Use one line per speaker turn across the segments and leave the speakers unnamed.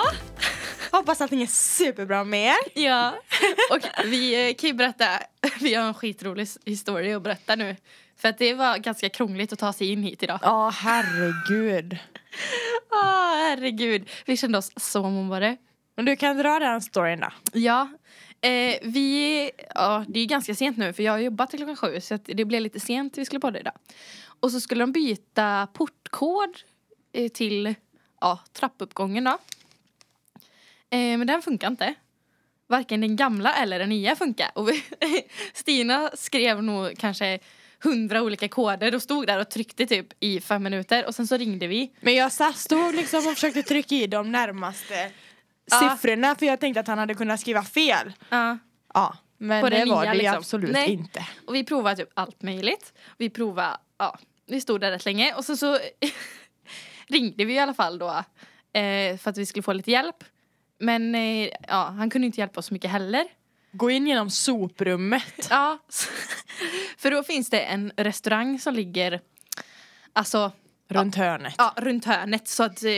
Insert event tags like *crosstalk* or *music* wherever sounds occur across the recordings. *laughs* Hoppas allting är superbra med er.
Ja, och vi eh, kan ju berätta, *laughs* vi har en skitrolig s- historia att berätta nu. För att det var ganska krångligt att ta sig in hit idag.
Ja, herregud.
Ah, herregud, vi kände oss så mobbade.
Men du kan dra den storyn då.
Ja, eh, vi, ja, det är ganska sent nu för jag har jobbat till klockan sju så att det blev lite sent vi skulle podda idag. Och så skulle de byta portkod eh, till ja, trappuppgången då. Eh, men den funkar inte. Varken den gamla eller den nya funkar. Och vi, *laughs* Stina skrev nog kanske hundra olika koder och stod där och tryckte typ i fem minuter och sen så ringde vi.
Men jag satt- stod liksom och försökte trycka i de närmaste
Ja.
siffrorna för jag tänkte att han hade kunnat skriva fel.
Ja.
Ja, men
På
det
det
var
nya,
det ju
liksom.
absolut
Nej.
inte.
Och vi provade typ allt möjligt. Vi provade, ja, vi stod där rätt länge och sen så *laughs* ringde vi i alla fall då eh, för att vi skulle få lite hjälp. Men eh, ja, han kunde inte hjälpa oss så mycket heller.
Gå in genom soprummet.
Ja, så- *laughs* för då finns det en restaurang som ligger alltså,
Runt hörnet.
ja, runt hörnet så att eh,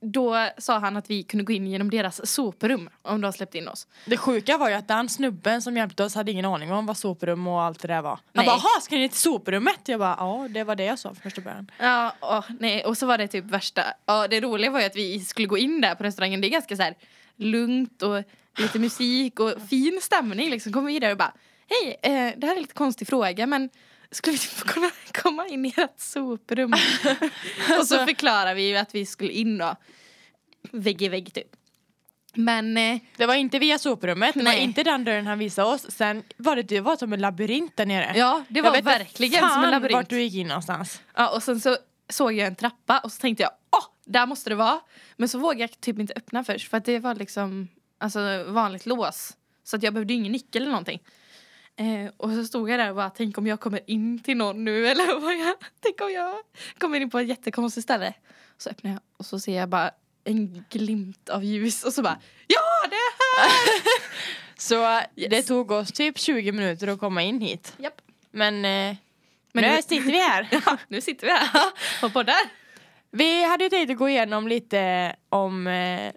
då sa han att vi kunde gå in genom deras soprum om de släppte in oss.
Det sjuka var ju att den snubben som hjälpte oss hade ingen aning om vad soprum och allt det där var. Han
Nej.
bara, jaha ska ni till soprummet? Jag bara, ja det var det jag sa från första början.
Ja, åh, nej. och så var det typ värsta... Ja, det roliga var ju att vi skulle gå in där på restaurangen. Det är ganska så här lugnt och lite musik och fin stämning. Liksom kommer vi där och bara... Hej, eh, det här är en lite konstig fråga men skulle vi inte få kunna komma *laughs* in i
*laughs*
ert soprum? och
Alltså.
så förklarar vi ju att vi skulle in då. Vägg i vägg typ. Men eh,
Det var inte via soprummet, det var
Nej.
inte den dörren han visade oss. Sen var det, det var som en labyrint där nere.
ja, det
Jag
var
vet inte
verkligen som en
fan
labyrint.
vart du gick in någonstans.
Ja, och sen så såg jag en trappa och så tänkte jag åh, där måste det vara. Men så vågade jag typ inte öppna först för att det var liksom alltså, vanligt lås. Så att jag behövde ju ingen nyckel eller någonting. Eh, och så stod jag där och bara, tänk om jag kommer in till någon nu *laughs* eller vad jag, tänk om jag kommer in på ett jättekonstigt ställe. Så öppnar jag och så ser jag bara en glimt av ljus och så bara, ja det är här!
Så det tog oss typ 20 minuter att komma in hit.
Japp.
Men, eh,
Men
nu
nu-
sitter vi här.
*laughs* Ja, nu sitter vi här och poddar.
Vi hade ju tänkt att gå igenom lite om... Eh,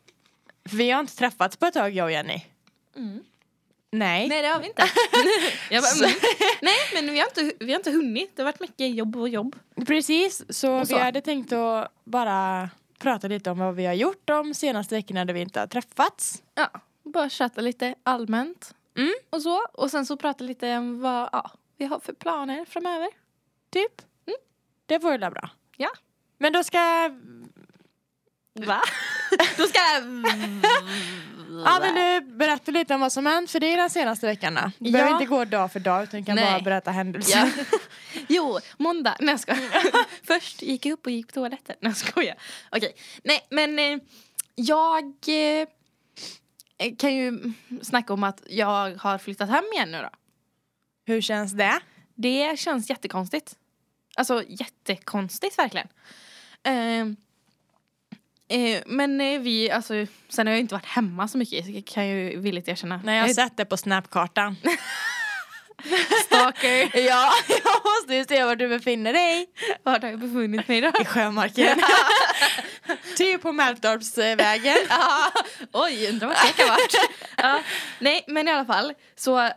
för vi har inte träffats på ett tag, jag och Jenny.
Mm.
Nej.
Nej det har vi *laughs* inte. jag bara,
Så-
mm. Nej men vi har, inte, vi har inte hunnit. Det har varit mycket jobb och jobb.
Precis, så,
Och så.
vi hade tänkt att bara prata lite om vad vi har gjort de senaste veckorna där vi inte har träffats.
Ja, bara chatta lite allmänt.
Mm.
Och så. Och sen så prata lite om vad ja, vi har för planer framöver.
Typ. Det vore väl bra.
Ja.
Men då ska...
Va? Då ska jag...
Ja, men du berätta lite om vad som hänt för dig den senaste veckan. då. Du
Ja.
behöver inte gå dag för dag utan du kan
Nej.
bara berätta händelser.
Ja. *laughs* Jo, måndag. Nej jag skojar. *laughs* Först gick jag upp och gick på toaletten. Nej jag skojar. Okej. Nej men eh, jag eh, kan ju snacka om att jag har flyttat hem igen nu då.
*laughs* Hur känns det?
Det känns jättekonstigt. Alltså jättekonstigt verkligen. Ehm, eh, men eh, vi, alltså sen har jag ju inte varit hemma så mycket så kan jag ju villigt erkänna.
Nej, jag har sett det på
*laughs*
snapkartan.
stalker.
ja, *laughs* jag måste ju se var du befinner dig.
*laughs* Vart har jag befunnit mig då?
I sjömarken.
*laughs*
*laughs* typ på Mältorpsvägen.
Ja, Oj, undrar vart det kan ha varit. Ja, nej, men i alla fall. Så,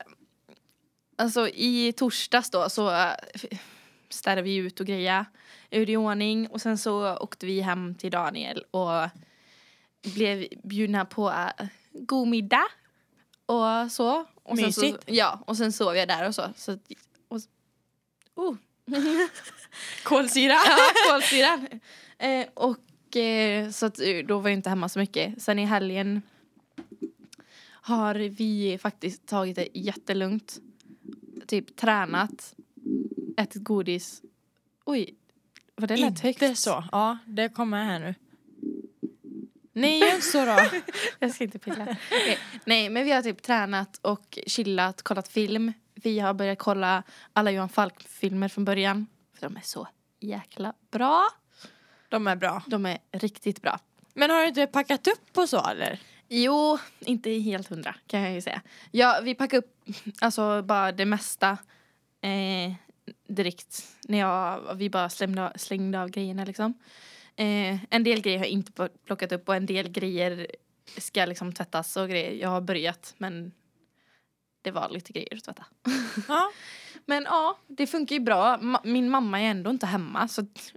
alltså i torsdags då så eh, f- städade vi ut och greja ur i ordning och sen så åkte vi hem till Daniel och blev bjudna på eh, god middag och så. Och sen så,
Mysigt.
ja, och sen sov jag där och så. så att- och, oh.
Kolsyra.
Ja, *laughs* kolsyran. Eh, och eh, så att, eh, då var jag inte hemma så mycket. Sen i helgen har vi faktiskt tagit det jättelugnt. Typ tränat, ätit godis. Oj, var det lät högt?
Inte så. Ja, det kommer här nu. Nej, gör inte så
*laughs*
då.
*laughs* Jag ska inte pilla. Okej. Nej, men vi har typ tränat och chillat, kollat film. Vi har börjat kolla alla Johan Falk-filmer från början. För de är så jäkla bra.
De är bra.
De är riktigt bra.
Men har du inte packat upp och så eller?
Jo, inte helt hundra kan jag ju säga. Ja, vi packade upp alltså bara det mesta eh, direkt när jag, vi bara slängde, slängde av grejerna liksom. Eh, en del grejer har jag inte plockat upp och en del grejer ska liksom tvättas och grejer. Jag har börjat men det var lite grejer att tvätta. *laughs*
Ja.
Men ja, det funkar ju bra. Ma- min mamma är ändå inte hemma. Så att,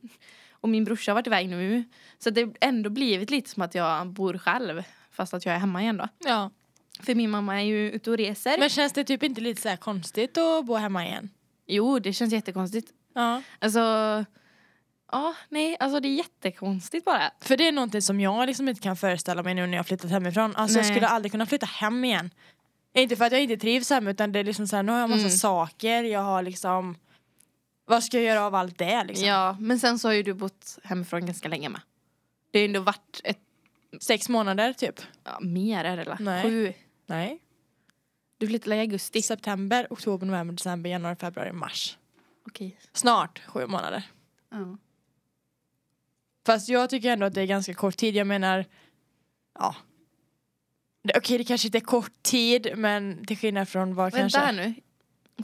och min brorsa har varit iväg nu. Så att det har ändå blivit lite som att jag bor själv. Fast att jag är hemma igen då.
ja.
För min mamma är ju ute och reser.
Men känns det typ inte lite så här konstigt att bo hemma igen?
Jo, det känns jättekonstigt.
Ja.
Alltså, ja, nej, alltså det är jättekonstigt bara.
För det är någonting som jag liksom inte kan föreställa mig nu när jag har flyttat hemifrån. Alltså jag
Nej.
skulle aldrig kunna flytta hem igen. Inte för att jag inte trivs hemma utan det är liksom så här, nu har jag massa
Mm.
saker, jag har liksom vad ska jag göra av allt det liksom?
Ja, men sen så har ju du bott hemifrån ganska länge med. Det har ju ändå varit ett,
Sex månader typ?
ja, mer är det eller?
Nej.
Sju.
Nej.
Du flyttade i augusti.
I september, oktober, november, december, januari, februari, mars.
Okej.
Snart sju månader.
Ja.
Fast jag tycker ändå att det är ganska kort tid. Jag menar, ja. Det- Okej, det kanske inte är kort tid, men till skillnad från vad
Vänta
kanske...
här nu.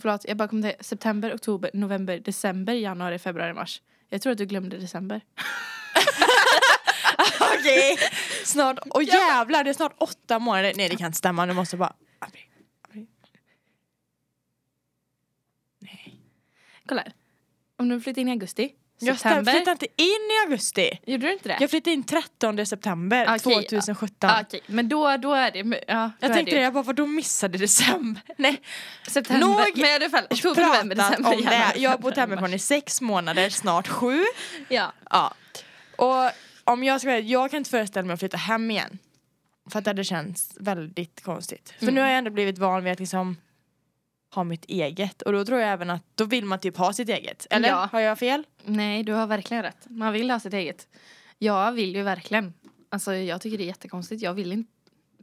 Förlåt, jag bara kom till september, oktober, november, december, januari, februari, mars. Jag tror att du glömde december.
*laughs* Okej.
*laughs*
Snart, och jävlar, det är snart åtta månader. Nej, det kan inte stämma. Nu måste jag bara... April, april.
Kolla här. Om du flyttade in i augusti,
Jag
september.
flyttade inte in i augusti.
Gjorde du inte det?
Jag flyttade in 13 september
Okej, ja.
2017.
Ah, Okej, men då, då är det... Ja, då
Jag
är
tänkte det,
ju
jag bara, vadå missade december? Nej,
September.
Nog
men i alla fall, oktober,
pratat
november,
om
december,
det.
januari,
Jag har bott
februari,
hemifrån i
mars.
sex månader, snart sju.
Ja.
Ja. Och om jag ska vara ärlig, jag kan inte föreställa mig att flytta hem igen. För att det hade känts väldigt konstigt.
Mm.
För nu har jag ändå blivit van vid att liksom ha mitt eget. Och då tror jag även att då vill man typ ha sitt eget. Eller?
Ja.
Har jag fel?
Nej, du har verkligen rätt. Man vill ha sitt eget. Jag vill ju verkligen. Alltså jag tycker det är jättekonstigt. Jag vill inte,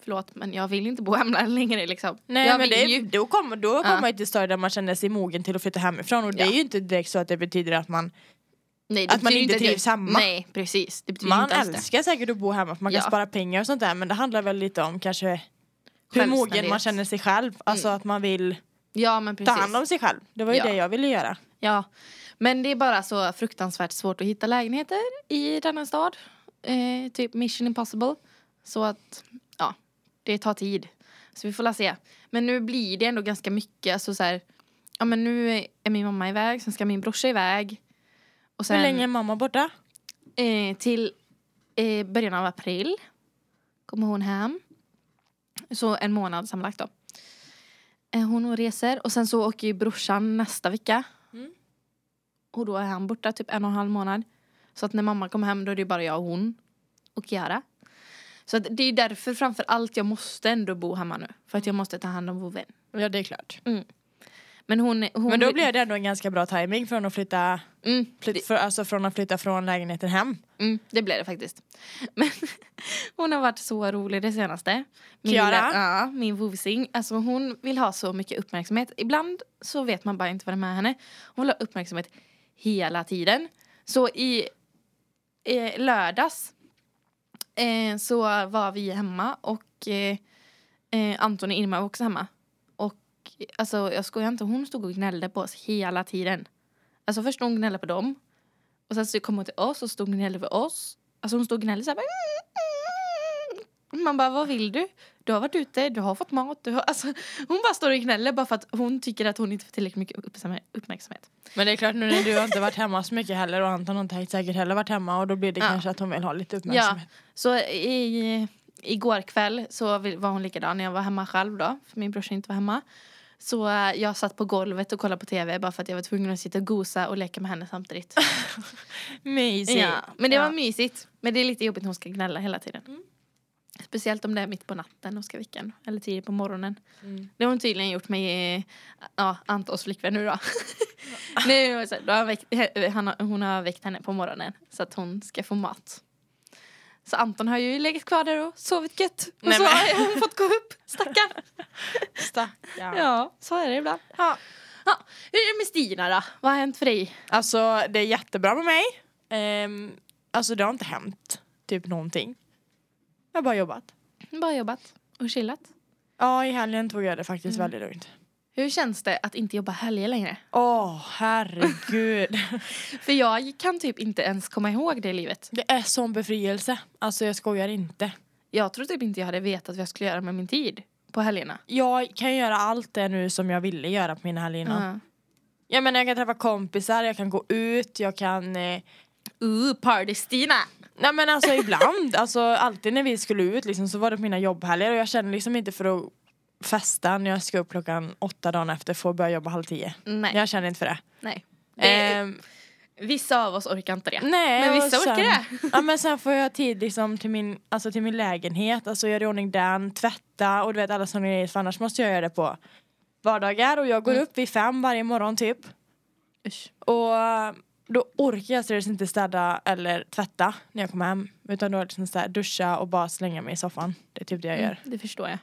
förlåt, men jag vill inte bo hemma *laughs* längre liksom.
Nej
jag
men
vill
det,
ju.
då kommer, då
Ja.
kommer man till ett stadie där man känner sig mogen till att flytta hemifrån. Och det
Ja.
är ju inte direkt så att det betyder att man,
Nej, det
att man
betyder
inte
att jag-
trivs hemma.
Nej, precis. Det betyder
man
inte alls det.
älskar säkert att bo hemma för man
Ja.
kan spara pengar och sånt där. Men det handlar väl lite om kanske hur mogen man
Självständighet.
känner sig själv. Alltså att man vill
Ja, men
ta
precis.
hand om sig själv. Det var ju
Ja.
det jag ville göra.
Ja, men det är bara så fruktansvärt svårt att hitta lägenheter i denna stad. Eh, typ mission impossible. Så att, ja, det tar tid. Så vi får la se. Men nu blir det ändå ganska mycket. Alltså så här, ja men nu är min mamma iväg, sen ska min brorsa iväg. Och sen,
Hur länge är mamma borta?
Eh, till eh, början av april kommer hon hem. Så en månad sammanlagt då. Eh, hon reser och sen så åker ju brorsan nästa vecka.
Mm.
Och då är han borta typ en och en halv månad. Så att när mamma kommer hem då är det ju bara jag och hon och Kiara. Så att det är ju därför framför allt jag måste ändå bo hemma nu. För att jag måste ta hand om vovven.
Ja det är klart.
Men hon... hon
Men då blev det ändå en ganska bra timing från att flytta,
Mm,
flyt, för, alltså från att flytta från lägenheten hem.
Mm, det blev det faktiskt. *laughs* Men hon har varit så rolig det senaste. Min
Kiara?
lilla- Ja, min vovsing. Alltså hon vill ha så mycket uppmärksamhet. Ibland så vet man bara inte vad det är med henne. Hon vill ha uppmärksamhet hela tiden. Så i eh, lördags eh, så var vi hemma och eh, eh, Anton och Irma var också hemma. Och eh, alltså jag skojar inte, hon stod och gnällde på oss hela tiden. Alltså först hon gnällde på dem. Och sen så kom hon till oss och stod och gnällde på oss. Alltså hon stod och gnällde så här "Mm, bara. mm, Man bara, vad vill du? Du har varit ute, du har fått mat. Du har... Alltså, hon bara står och gnäller bara för att hon tycker att hon inte får tillräckligt mycket uppmärksamhet- uppmärksamhet.
Men det är klart nu när du har inte varit hemma så mycket heller och Anton har inte säkert heller varit hemma och då blir det
Ja.
kanske att hon vill ha lite
Ja,
uppmärksamhet.
så i, igår kväll så vill- var hon likadan när jag var hemma själv då. För min brorsa inte var hemma. Så eh, jag satt på golvet och kollade på tv bara för att jag var tvungen att sitta och gosa och leka med henne samtidigt.
Mysigt.
Ja, men det
Ja. Mm.
var mysigt. Men det är lite jobbigt när hon ska gnälla hela tiden. Speciellt om det är mitt på natten och ska väcka en, Eller tidigt på morgonen.
Mm.
Det har hon tydligen gjort med eh, ja, Antons flickvän nu då. *laughs* nu, är det så här, då har han väckt, he- han, har- hon har väckt henne på morgonen så att hon ska få mat. Så Anton har ju legat kvar där och sovit gött. Och
Nej,
så
men-
har hon fått gå upp,
*laughs*
stackarn.
Stackarn.
Ja, så är det ibland.
Ja.
Ja, hur är det med Stina då? Vad har hänt för dig?
Alltså det är jättebra med mig. Ehm, alltså det har inte hänt typ någonting. Jag har bara jobbat.
Bara jobbat och chillat.
Ja i helgen tog jag det faktiskt väldigt lugnt.
Hur känns det att inte jobba helger längre?
Åh *laughs* herregud.
För jag kan typ inte ens komma ihåg det livet.
det är sån befrielse. Alltså jag skojar inte.
Jag tror typ inte jag hade vetat vad jag skulle göra med min tid på helgerna.
Jag kan göra allt det nu som jag ville göra på mina helger innan.
Ja.
Jag menar jag kan träffa kompisar, jag kan gå ut, jag kan... Eh,
Ooh, party-Stina!
nej men alltså ibland, *laughs* alltså alltid när vi skulle ut liksom så var det på mina jobbhelger och jag känner liksom inte för att festa när jag ska upp klockan åtta dagen efter för att börja jobba halv tio.
Nej.
Jag känner inte för det.
nej. Det,
Ehm,
vissa av oss orkar inte det.
nej,
men
och
vissa orkar
sen-
det.
*laughs* Ja men sen får jag tid liksom till min, alltså till min lägenhet, alltså göra i ordning den, tvätta och du vet alla sådana grejer för annars måste jag göra det på vardagar och jag går
Mm.
upp vid fem varje morgon typ
Usch.
och då orkar jag seriöst inte städa eller tvätta när jag kommer hem utan då är det liksom så här, duscha och bara slänga mig i soffan. Det är typ det jag gör.
Det förstår jag.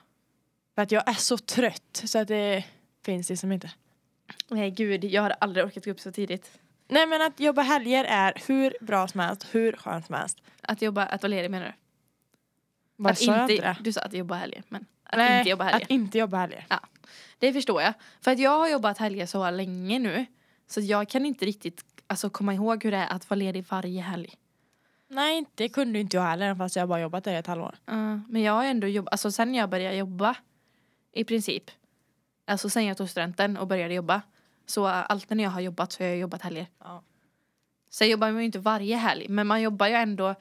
För att jag är så trött så att det finns liksom inte.
Nej gud, jag hade aldrig orkat gå upp så tidigt.
Nej men att jobba helger är hur bra som helst, hur skönt som helst.
Att jobba, att vara ledig menar du?
Vad
att
sa jag inte det?
Du sa att jobba helger, men att
Nej,
inte jobba helger.
Att inte jobba helger.
Det förstår jag. För att jag har jobbat helger så länge nu. Så jag kan inte riktigt alltså, komma ihåg hur det är att vara ledig varje helg.
Nej, det kunde ju inte jag heller, även fast jag bara jobbat där i ett halvår.
Ja, men jag har ändå jobbat, alltså sen jag började jobba i princip. Alltså sen jag tog studenten och började jobba. Så eh, alltid när jag har jobbat så har jag jobbat helger.
Ja.
Sen jobbar man ju inte varje helg men man jobbar ju ändå.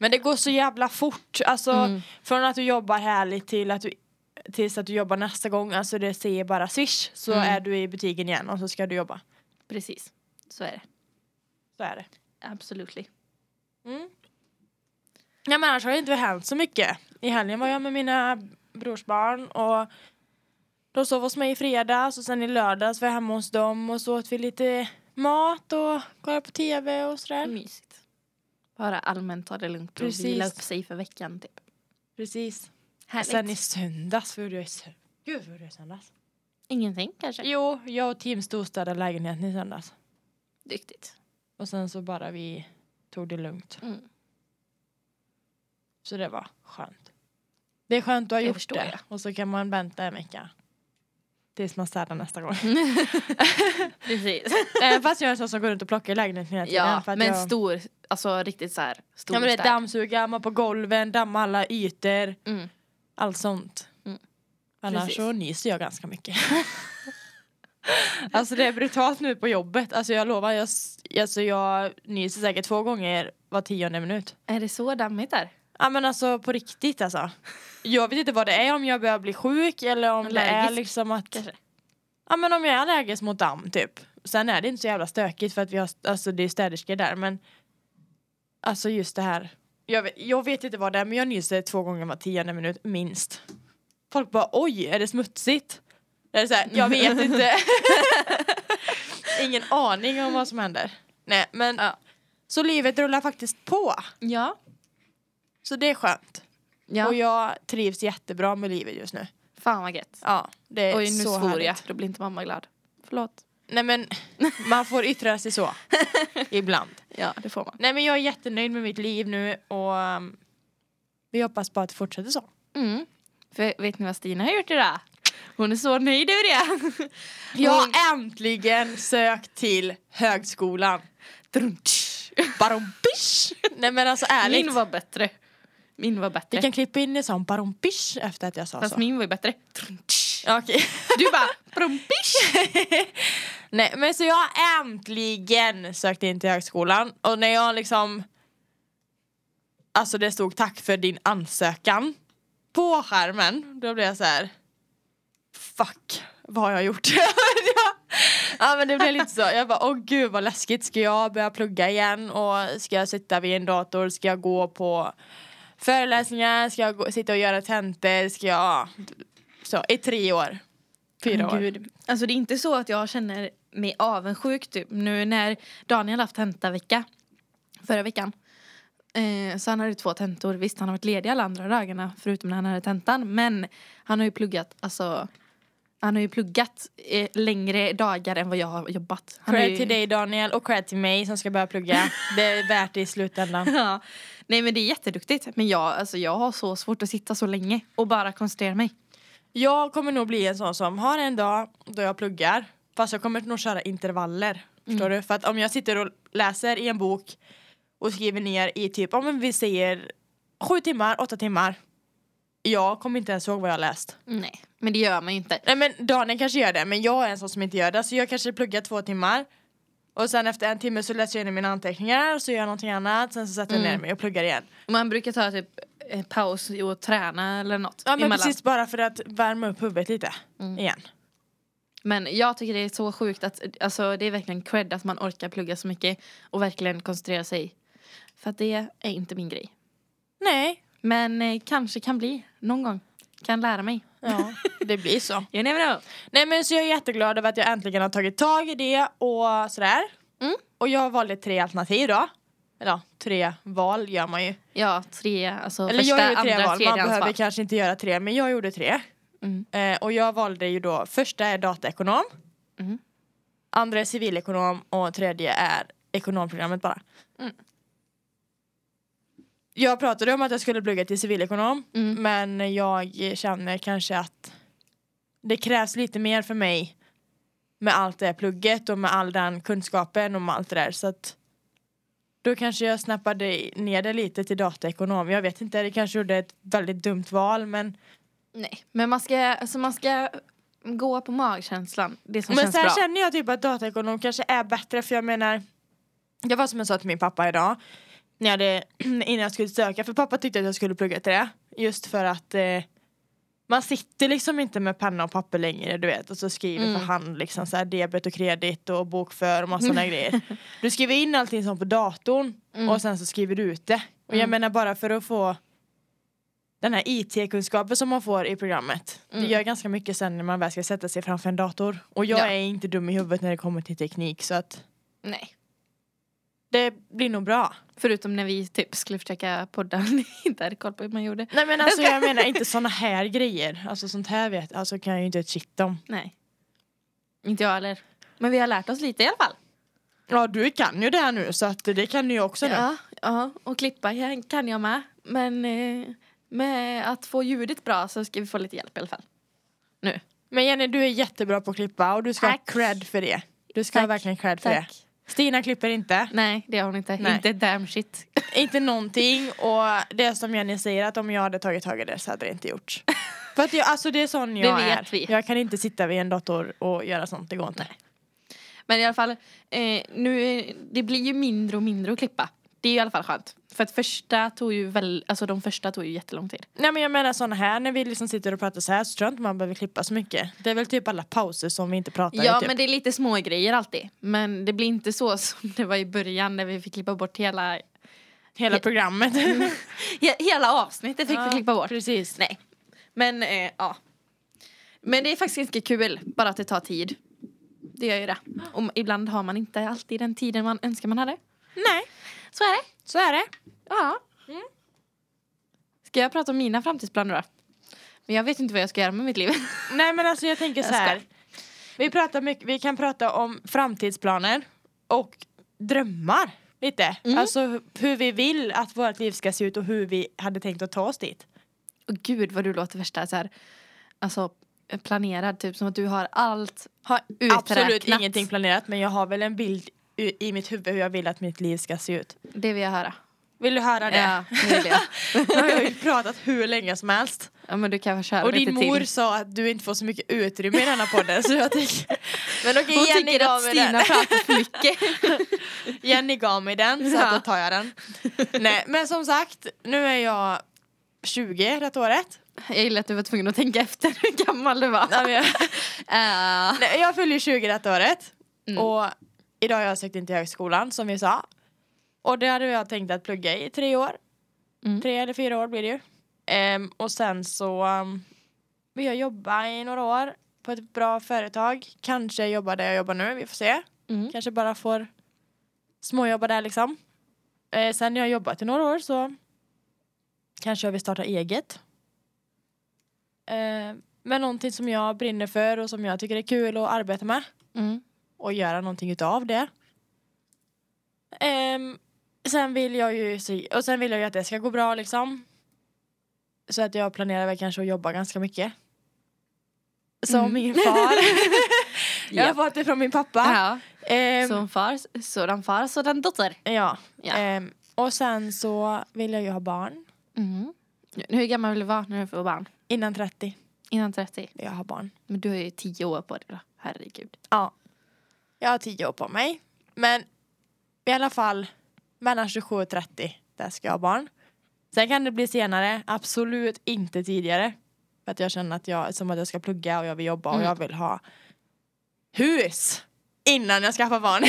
Men det går så jävla fort. Alltså,
Mm.
Från att du jobbar härligt till att du, tills att du jobbar nästa gång, alltså det säger bara swish, så
Mm.
är du i butiken igen och så ska du jobba.
Precis, så är det.
Så är det.
Absolutely.
Mm. Ja, men annars har det inte hänt så mycket. I helgen var jag med mina brorsbarn och de sov hos mig i fredags och sen i lördags var jag hemma hos dem och så åt vi lite mat och kollade på tv och sådär.
Mysigt. Bara allmänt ta det lugnt och
Precis.
vila upp sig för veckan typ.
Precis.
Härligt.
Sen i söndags, vad gjorde jag i söndags? Gud vad gjorde jag i söndags?
Ingenting kanske?
Jo, jag och Tim storstädade lägenheten i söndags.
Duktigt.
Och sen så bara vi tog det lugnt.
Mm.
Så det var skönt. Det är skönt att ha
Det
gjort
förstår
det.
jag.
Och så kan man vänta en vecka. Tills man städar nästa gång.
Mm.
*laughs*
Precis.
Nej, Fast jag är en sån som går runt och plockar i lägenheten hela tiden.
ja,
för att
men
jag...
stor, alltså riktigt så här stor
Ja men det är
städ.
dammsuga, man på golven, damma alla ytor.
Mm.
Allt sånt.
Mm.
Annars
Precis.
så nyser jag ganska
*laughs*
mycket. alltså det är brutalt nu på jobbet. Alltså jag lovar, jag, s- alltså jag nyser säkert två gånger var tionde minut.
Är det så dammigt där?
Ja men alltså på riktigt alltså. Jag vet inte vad det är, om jag börjar bli sjuk eller om det är
Allergisk,
liksom att...
Kanske.
Ja men om jag är allergisk mot damm typ. Sen är det inte så jävla stökigt för att vi har, alltså det är städerskor där men Alltså just det här. Jag vet, jag vet inte vad det är men jag nyser två gånger var tionde minut minst. Folk bara oj, är det smutsigt? Eller så här, jag *laughs* vet inte. Ingen aning om vad som händer. Nej men
Ja.
Så livet rullar faktiskt på.
Ja.
Så det är skönt.
ja.
Och jag trivs jättebra med livet just nu.
Fan vad gött.
Ja, det är
Oj nu
så
svor
härligt.
jag, då blir inte mamma glad. Förlåt.
Nej *laughs* men man får yttra sig så. *laughs* Ibland.
Ja det får man.
Nej men jag är jättenöjd med mitt liv nu och um, vi hoppas bara att det fortsätter så.
Mm. För vet ni vad Stina har gjort idag? Hon är så nöjd över det.
Jag har äntligen sökt till högskolan.
Drunch.
Barompish! Nej men alltså ärligt.
Min var bättre. Min var
Vi
bättre.
kan klippa in en sån barompish efter att jag sa
Fast
så.
min var ju bättre. Drunch.
Ja, Okej.
Du bara *laughs* brumpish.
Nej men så jag har äntligen sökt in till högskolan och när jag liksom Alltså det stod tack för din ansökan på skärmen, då blev jag så här. Fuck, vad har jag gjort? *laughs* Ja, ja men det blev lite så, jag bara åh gud vad läskigt, ska jag börja plugga igen och ska jag sitta vid en dator, ska jag gå på föreläsningar, ska jag gå, sitta och göra tentor, ska jag så i tre år, fyra år.
Gud. Alltså det är inte så att jag känner mig avundsjuk typ nu när Daniel haft tentavecka förra veckan. Eh, så han hade två tentor. Visst han har varit ledig alla andra dagarna förutom när han hade tentan. Men han har ju pluggat alltså han har ju pluggat eh, längre dagar än vad jag har jobbat. Han har
Cred
ju...
till dig Daniel och cred till mig som ska börja plugga. Det är värt det i slutändan.
*laughs* Ja. Nej men det är jätteduktigt. Men jag, alltså, jag har så svårt att sitta så länge och bara koncentrera mig.
Jag kommer nog bli en sån som har en dag då jag pluggar. Fast jag kommer nog köra intervaller. Förstår du? För att om jag sitter och läser i en bok och skriver ner i typ, om vi säger sju timmar, åtta timmar. jag kommer inte ens ihåg vad jag har läst.
Nej, men det gör man ju inte.
Nej men Daniel kanske gör det, men jag är en sån som inte gör det. Så jag kanske pluggar två timmar. Och sen efter en timme så läser jag igenom mina anteckningar och så gör jag någonting annat. Sen så sätter jag ner mig och pluggar igen.
Man brukar ta typ eh, paus i att träna eller något
Ja men
emellan. Mm.
precis bara för att värma upp huvudet lite. Igen.
Men jag tycker det är så sjukt att alltså, det är verkligen cred att man orkar plugga så mycket och verkligen koncentrera sig. För att det är inte min grej.
Nej.
Men eh, kanske kan bli någon gång. Kan lära mig.
Ja, det blir så.
*laughs* You never know.
Nej men så jag är jätteglad över att jag äntligen har tagit tag i det och sådär.
Mm.
Och jag valde tre alternativ då. Eller ja, tre val gör man ju.
Ja, tre, alltså
Eller
första,
jag gjorde tre
andra,
val, man
tredje
behöver
ansvar.
kanske inte göra tre men jag gjorde tre.
Mm.
Eh, och jag valde ju då, första är dataekonom.
Mm.
Andra är civilekonom och tredje är ekonomprogrammet bara.
Mm.
Jag pratade om att jag skulle plugga till civilekonom
Mm.
men jag känner kanske att det krävs lite mer för mig med allt det här plugget och med all den kunskapen och med allt det där så att då kanske jag snappade ner det lite till dataekonom. Jag vet inte, det kanske gjorde ett väldigt dumt val men
Nej, men man ska, alltså, man ska gå på magkänslan. Det som
Men
känns
sen
bra.
känner jag typ att dataekonom kanske är bättre för jag menar Det var som jag sa till min pappa idag när jag hade, *clears throat* Innan jag skulle söka, för pappa tyckte att jag skulle plugga till det Just för att eh, Man sitter liksom inte med penna och papper längre du vet och så skriver
Mm.
för hand liksom så här debet och kredit och bokför och massa
*laughs*
sådana grejer Du skriver in allting som på datorn
Mm.
och sen så skriver du ut det Och jag
Mm.
menar bara för att få den här IT-kunskapen som man får i programmet.
Mm.
Det gör ganska mycket sen när man väl ska sätta sig framför en dator. Och jag
Ja.
är inte dum i huvudet när det kommer till teknik så att
Nej.
det blir nog bra.
Förutom när vi typ skulle försöka podda *laughs* och ni inte hade koll på hur man gjorde.
Nej men *laughs* alltså jag menar inte såna här grejer. Alltså sånt här vet alltså kan jag ju inte ett shit om.
Nej. Inte jag heller. Men vi har lärt oss lite i alla fall.
Ja du kan ju det här nu så att det kan ju också nu.
Ja, ja, och klippa kan- kan jag med. Men eh, med att få ljudet bra så ska vi få lite hjälp i alla fall. Nu.
Men Jenny du är jättebra på att klippa och du ska
Tack.
ha cred för det. Du ska ha
Tack.
verkligen cred för
Tack.
det. Stina klipper inte.
Nej, det har hon inte.
Nej.
Inte damn shit.
Inte någonting och det som Jenny säger att om jag hade tagit tag i det så hade det inte
*laughs*
gjorts. För att jag, alltså det är sån jag
vet
är.
vi.
Jag kan inte sitta vid en dator och göra sånt, det går inte.
Men i alla fall, eh, nu, är- det blir ju mindre och mindre att klippa. Det är i alla fall skönt. För att första tog ju väl, alltså de första tog ju jättelång tid.
Nej men jag menar såna här, när vi liksom sitter och pratar så här så tror jag inte man behöver klippa så mycket. Det är väl typ alla pauser som vi inte pratar i
Ja
typ.
men det är lite små grejer alltid. Men det blir inte så *laughs* som det var i början när vi fick klippa bort hela,
Hela programmet.
Mm. he, hela avsnittet fick vi klippa bort.
Precis.
Nej. Men eh, ja. Men det är faktiskt ganska kul, bara att det tar tid. Det gör ju det. Och ibland har man inte alltid den tiden man önskar man hade.
*laughs* Nej,
Så är det.
så är det.
Ja.
Mm.
Ska jag prata om mina framtidsplaner då? Men jag vet inte vad jag ska göra med mitt liv. *laughs*
Nej men alltså jag tänker
Jag
så här.
skojar.
Vi, pratar mycket, vi kan prata om framtidsplaner och drömmar lite.
Mm.
Alltså hu- hur vi vill att vårt liv ska se ut och hur vi hade tänkt att ta oss dit.
Och gud vad du låter värsta så här. Alltså planerad, typ som att du har allt
Har
uträknat.
absolut ingenting planerat men jag har väl en bild i, i mitt huvud hur jag vill att mitt liv ska se ut.
Det vill jag höra.
Vill du höra det?
Ja, det vill jag.
Nu har *laughs* jag ju pratat hur länge som helst.
ja men du kan väl köra
Och din
lite
mor
till.
sa att du inte får så mycket utrymme i denna podden så jag tänker... Men okej,
Hon
Jenny,
tycker
gav
att
mig den.
Stina pratar för mycket.
Jenny gav mig den så att
Ja.
då tar jag den. Nej, men som sagt, nu är jag 20 rätt året.
Jag gillar att du var tvungen att tänka efter hur gammal du var.
Nej, men jag,
*laughs* Eh,
*laughs* nej, jag fyller 20 rätt året.
Mm.
Och idag har jag sökt in till högskolan som vi sa. Och det hade jag tänkt att plugga i tre år.
Mm.
Tre eller fyra år blir det ju. Ehm, och sen så um, vill jag jobba i några år på ett bra företag. Kanske jobba där jag jobbar nu, vi får se.
mm.
Kanske bara får småjobba där liksom. Eh, sen när jag har jobbat i några år så kanske jag vill starta eget. Eh, men någonting som jag brinner för och som jag tycker är kul att arbeta med
Mm.
och göra någonting utav det. Ehm, sen vill jag ju se- och sen vill jag ju att det ska gå bra liksom. Så att jag planerar väl kanske att jobba ganska mycket. Som
Mm.
min
*laughs*
far. jag har
Japp.
fått det från min pappa.
Ja.
Ehm,
Som far, sådan far, sådan dotter.
Ja.
Ja.
Ehm, och sen så vill jag ju ha barn.
Mm. nu. Hur gammal vill du vara när du får barn?
Innan 30.
Innan 30?
Jag har barn.
Men du har ju 10 år på dig då. Herregud.
Ja. Jag har 10 år på mig. Men i alla fall mellan 27 och 30. Där ska jag ha barn. Sen kan det bli senare. Absolut inte tidigare. För att jag känner att jag, som att jag ska plugga och jag vill jobba och
Mm.
jag vill ha hus. Innan jag skaffar
*laughs*
barn.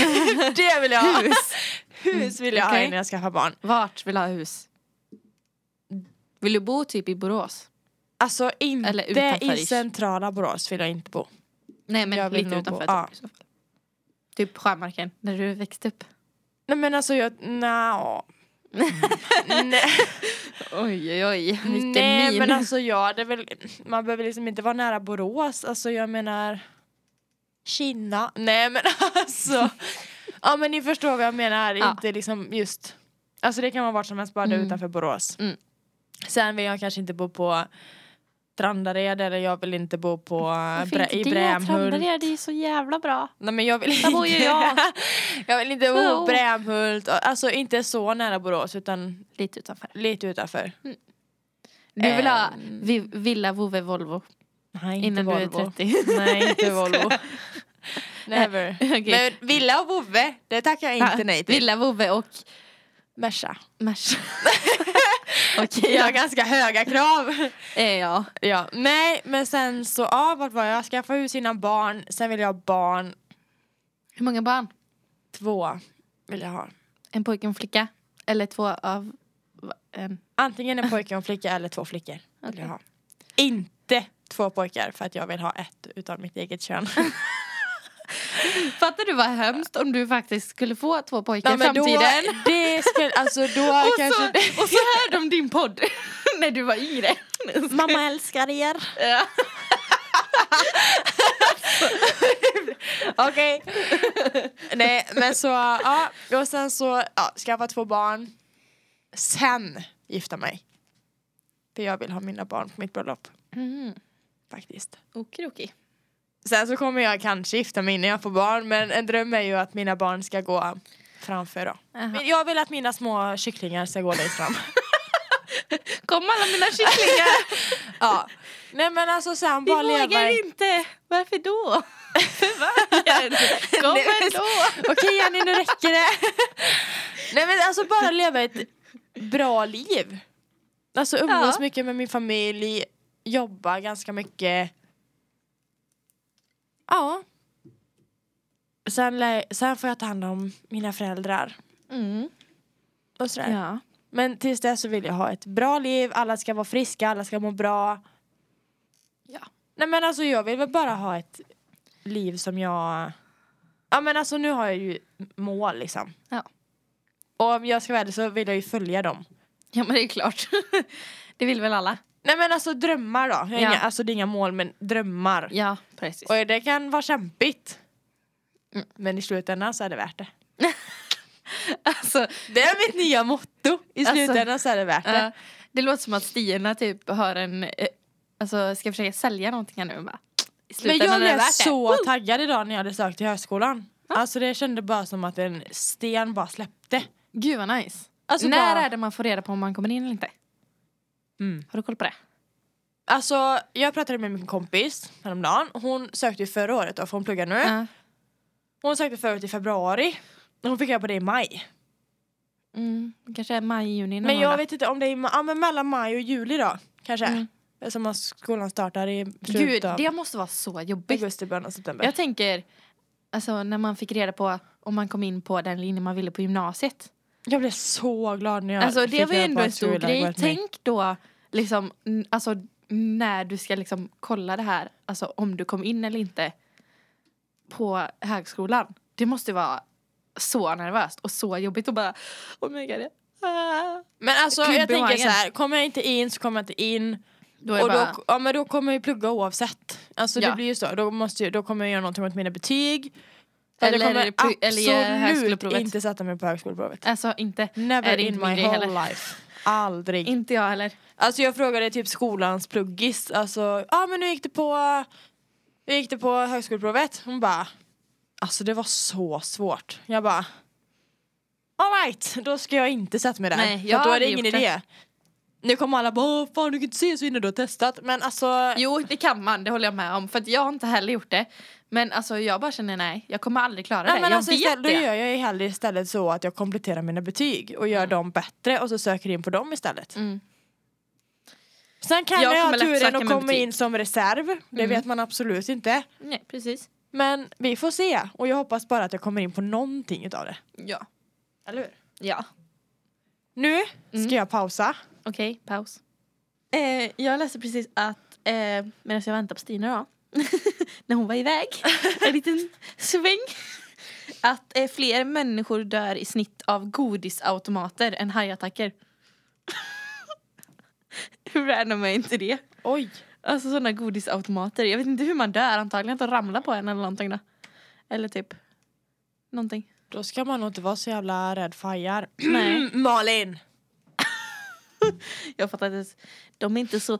det vill jag ha.
Hus.
*laughs*
Mm,
Hus vill jag ha
Okej.
innan jag skaffar barn.
Vart vill du ha hus? Vill du bo typ i Borås?
Alltså inte
Eller utanför
i
ish.
centrala Borås vill jag inte bo.
Nej men
Jag vill
lite
nog
utanför.
bo- ja.
Typ, i så fall. typ Sjömarken, när du växte upp.
Nej men alltså jag,
*laughs*
nja. Nej.
Oj oj oj, vilken
Nej
min.
men alltså ja, det är väl, man behöver liksom inte vara nära Borås, alltså jag menar Kina, nej men alltså Ja men ni förstår vad jag menar,
Ja.
inte liksom just Alltså det kan vara vart som helst bara det är
Mm.
utanför Borås
Mm.
Sen vill jag kanske inte bo på Trandared eller jag vill inte bo på Brä- i Brämhult
Trandared, det är ju så jävla bra.
Nej men jag vill inte
Där bor ju jag.
*laughs*
Oh.
Jag vill inte bo
Jo.
på Brämhult, alltså inte så nära Borås utan
Lite utanför.
lite utanför
Du vill ha
Ehm.
vi, villa, vovve, Volvo
Nej inte
innan
Volvo.
du är 30.
Nej, inte
*laughs* Jag skojar.
Volvo. typ- *laughs* Never.
Okej.
Men villa och vovve, det tackar jag inte nej typ. till.
Villa, vovve och
*laughs* Merca.
Merca. *laughs* Okej,
Jag
ja.
har ganska höga krav.
Eh, ja.
*laughs* ja. Nej, men sen så, ja, vart var jag? Skaffa hus innan barn, sen vill jag ha barn.
Hur många barn?
Två vill jag ha.
En pojke och en flicka? Eller två av va- en?
Antingen *laughs* en pojke och en flicka eller två flickor. Vill
Okej.
jag ha. Inte två pojkar för att jag vill ha ett utav mitt eget kön.
Fattar du vad hemskt om du faktiskt skulle få två pojkar
Ja,
i
men då,
framtiden?
det skulle, alltså då
*laughs* Och,
kanske det...
så, och så hör de din podd *laughs* när du var
*laughs*
yngre.
Mamma älskar er.
Ja.
*laughs* Okej. Nej men så, ja. Och sen så, ja, skaffa två barn. Sen gifta mig. För jag vill ha mina barn på mitt bröllop
Mm.
faktiskt.
Okidoki.
Sen så kommer jag kanske gifta mig innan jag får barn men en dröm är ju att mina barn ska gå framför då.
Jaha.
Men jag vill att mina små kycklingar ska gå längst fram.
Kom alla mina kycklingar!
ja. *laughs* Nej men alltså sen
Vi
bara leva i-
vågar inte! Varför *laughs* då? För varken? Kom
Nej, men-
ändå!
Okej Jenny, nu räcker det. *laughs* Nej men alltså bara leva ett bra liv. Alltså umgås
Ja.
mycket med min familj, jobba ganska mycket. Ja. Sen, lä- sen får jag ta hand om mina föräldrar
Mm.
och sådär.
Ja.
Men tills dess så vill jag ha ett bra liv, alla ska vara friska, alla ska må bra.
Ja.
Nej men alltså jag vill väl bara ha ett liv som jag... Ja men alltså nu har jag ju mål liksom.
Ja.
Och om jag ska vara ärlig så vill jag ju följa dem.
Ja men det är klart. *laughs* Det vill väl alla?
Nej men alltså drömmar då. Jag har
Ja.
Inga, alltså det är inga mål men drömmar.
Ja precis. *laughs*
Och det kan vara kämpigt.
Mm.
Men i slutändan så är det värt det.
Alltså,
Det är mitt nya motto. I
Alltså,
slutändan så är det värt det.
eh, det låter som att Stina typ har en, eh, alltså ska försöka sälja någonting här nu. men Bara, i
Men
slutändan
jag
är det
blev
värt det.
så
Woo!
taggad idag när jag hade sökt till högskolan. Alltså det kände bara som att en sten bara släppte.
Gud vad nice.
Alltså,
När
bara-
är det man får reda på om man kommer in eller inte?
Mm.
Har du koll på det?
Alltså jag pratade med min kompis häromdagen. Hon sökte ju förra året då, för hon pluggar nu.
Ja.
Hon sökte förra året i februari. Hon fick reda på det i maj.
Mm, kanske är maj, juni. någon
Men jag
gång då.
vet inte om det är i ma- ja, men mellan maj och juli då. Kanske.
Mm.
Som att skolan startar i
Gud,
slutet av
det måste vara så jobbigt.
augusti, början av september.
Jag tänker, alltså när man fick reda på om man kom in på den linje man ville på gymnasiet.
Jag blev så glad när jag
Alltså det
fick
var ju
reda på
ändå
att
en stor
Sula
grej.
varit med.
Tänk då liksom, n- alltså när du ska liksom kolla det här, alltså om du kom in eller inte på högskolan. Det måste vara så nervöst och så jobbigt och bara oh my god. Ah.
Men alltså
Gud,
jag tänker
behagen.
så här, kommer jag inte in så kommer jag inte in.
Då är
och
det bara,
då, ja, men då kommer jag ju plugga oavsett. Alltså
Ja.
det blir ju så. Då, måste jag, då kommer jag göra någonting åt mina betyg. För att
Eller
jag
pu-
kommer
eller göra
absolut
högskoleprovet.
inte sätta mig på högskoleprovet.
alltså inte,
Never
är det
in
inte
my
min
whole
grej heller.
life. Aldrig.
inte jag heller.
Alltså jag frågade typ skolans pluggis. Alltså, ja ah, men nu gick det på hur gick det på högskoleprovet? Hon bara, alltså det var så svårt. Jag bara, alright, då ska jag inte sätta mig där.
Nej,
För
jag
att då är
hade
det ingen
gjort det.
idé. Nu kommer alla bara "Åh, fan du kan inte se så innan du har testat. Men alltså,
*laughs* Jo, det kan man, det håller jag med om. För att jag har inte heller gjort det. Men alltså jag bara känner nej, jag kommer aldrig klara
nej,
det.
men
jag
alltså
vet
istället, då
det.
gör jag ju hellre istället så att jag kompletterar mina betyg och gör dem bättre och så söker in på dem istället.
Mm.
Sen kan
Jag
jag, ha
kommer lätt
turen
söka
och
med
komma
betyg.
in som reserv. Det
Mm.
vet man absolut inte.
Nej, precis.
Men vi får se. Och jag hoppas bara att jag kommer in på någonting utav det.
Ja.
Eller hur?
Ja.
Nu
Mm.
ska jag pausa.
Okej, paus. Eh, jag läste precis att, eh, medan jag väntar på Stina då, *laughs* när hon var *laughs* iväg, en liten sväng, att eh, fler människor dör i snitt av godisautomater än hajattacker. *laughs* hur random är inte det?
Oj.
Alltså sådana godisautomater. Jag vet inte hur man dör, antagligen att de ramlar på en eller någonting då. Eller typ, någonting.
Då ska man nog inte vara så jävla rädd för hajar.
Nej.
*clears throat* Malin!
Jag fattar inte ens. De är inte så...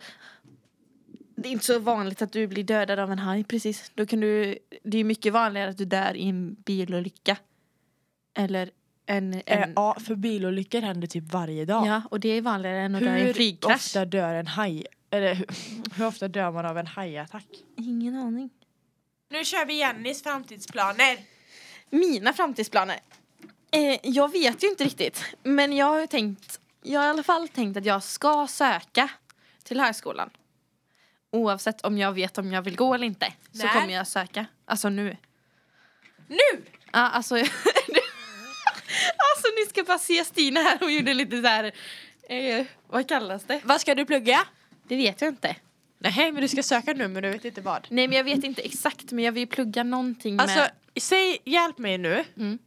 Det är inte så vanligt att du blir dödad av en haj precis. Då kan du... Det är mycket vanligare att du dör i en bilolycka. Eller en...
Eh,
en
ja, för bilolyckor händer typ varje dag.
ja, och det är vanligare än att dö i en
Hur
flygkrasch.
ofta dör en haj... Eller hur, *laughs* hur ofta dör man av en hajattack?
Ingen aning.
Nu kör vi Jennys framtidsplaner!
Mina framtidsplaner? Eh, jag vet ju inte riktigt. Men jag har ju tänkt... Jag har i alla fall tänkt att jag ska söka till högskolan. Oavsett om jag vet om jag vill gå eller inte. Så
När?
kommer jag söka. Alltså nu.
Nu!
Ja, alltså, *laughs* alltså ni ska bara se Stina här, hon gjorde lite så här, eh, vad kallas det?
Vad ska du plugga?
Det vet jag inte.
Nej, men du ska söka nu men du vet inte vad.
Nej men jag vet inte exakt men jag vill plugga någonting
Alltså,
med...
säg hjälp mig nu.
Mm.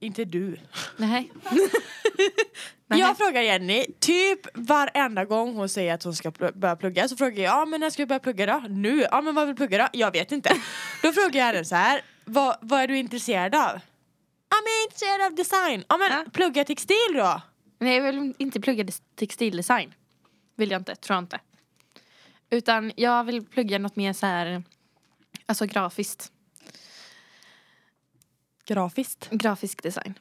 Inte du.
Nej.
Jag frågar Jenny, typ varenda gång hon säger att hon ska pl- börja plugga så frågar jag, ja men när ska du börja plugga då? Nu? Ja men vad vill du plugga då? Jag vet *laughs* inte. Då frågar jag henne så här, vad, vad är du intresserad av? Ja men jag är intresserad av design. Ja men
Ja.
plugga textil då.
Nej jag vill inte plugga des- textildesign. Vill jag inte, tror jag inte. Utan jag vill plugga något mer så här, alltså grafiskt.
Grafiskt.
Grafisk design.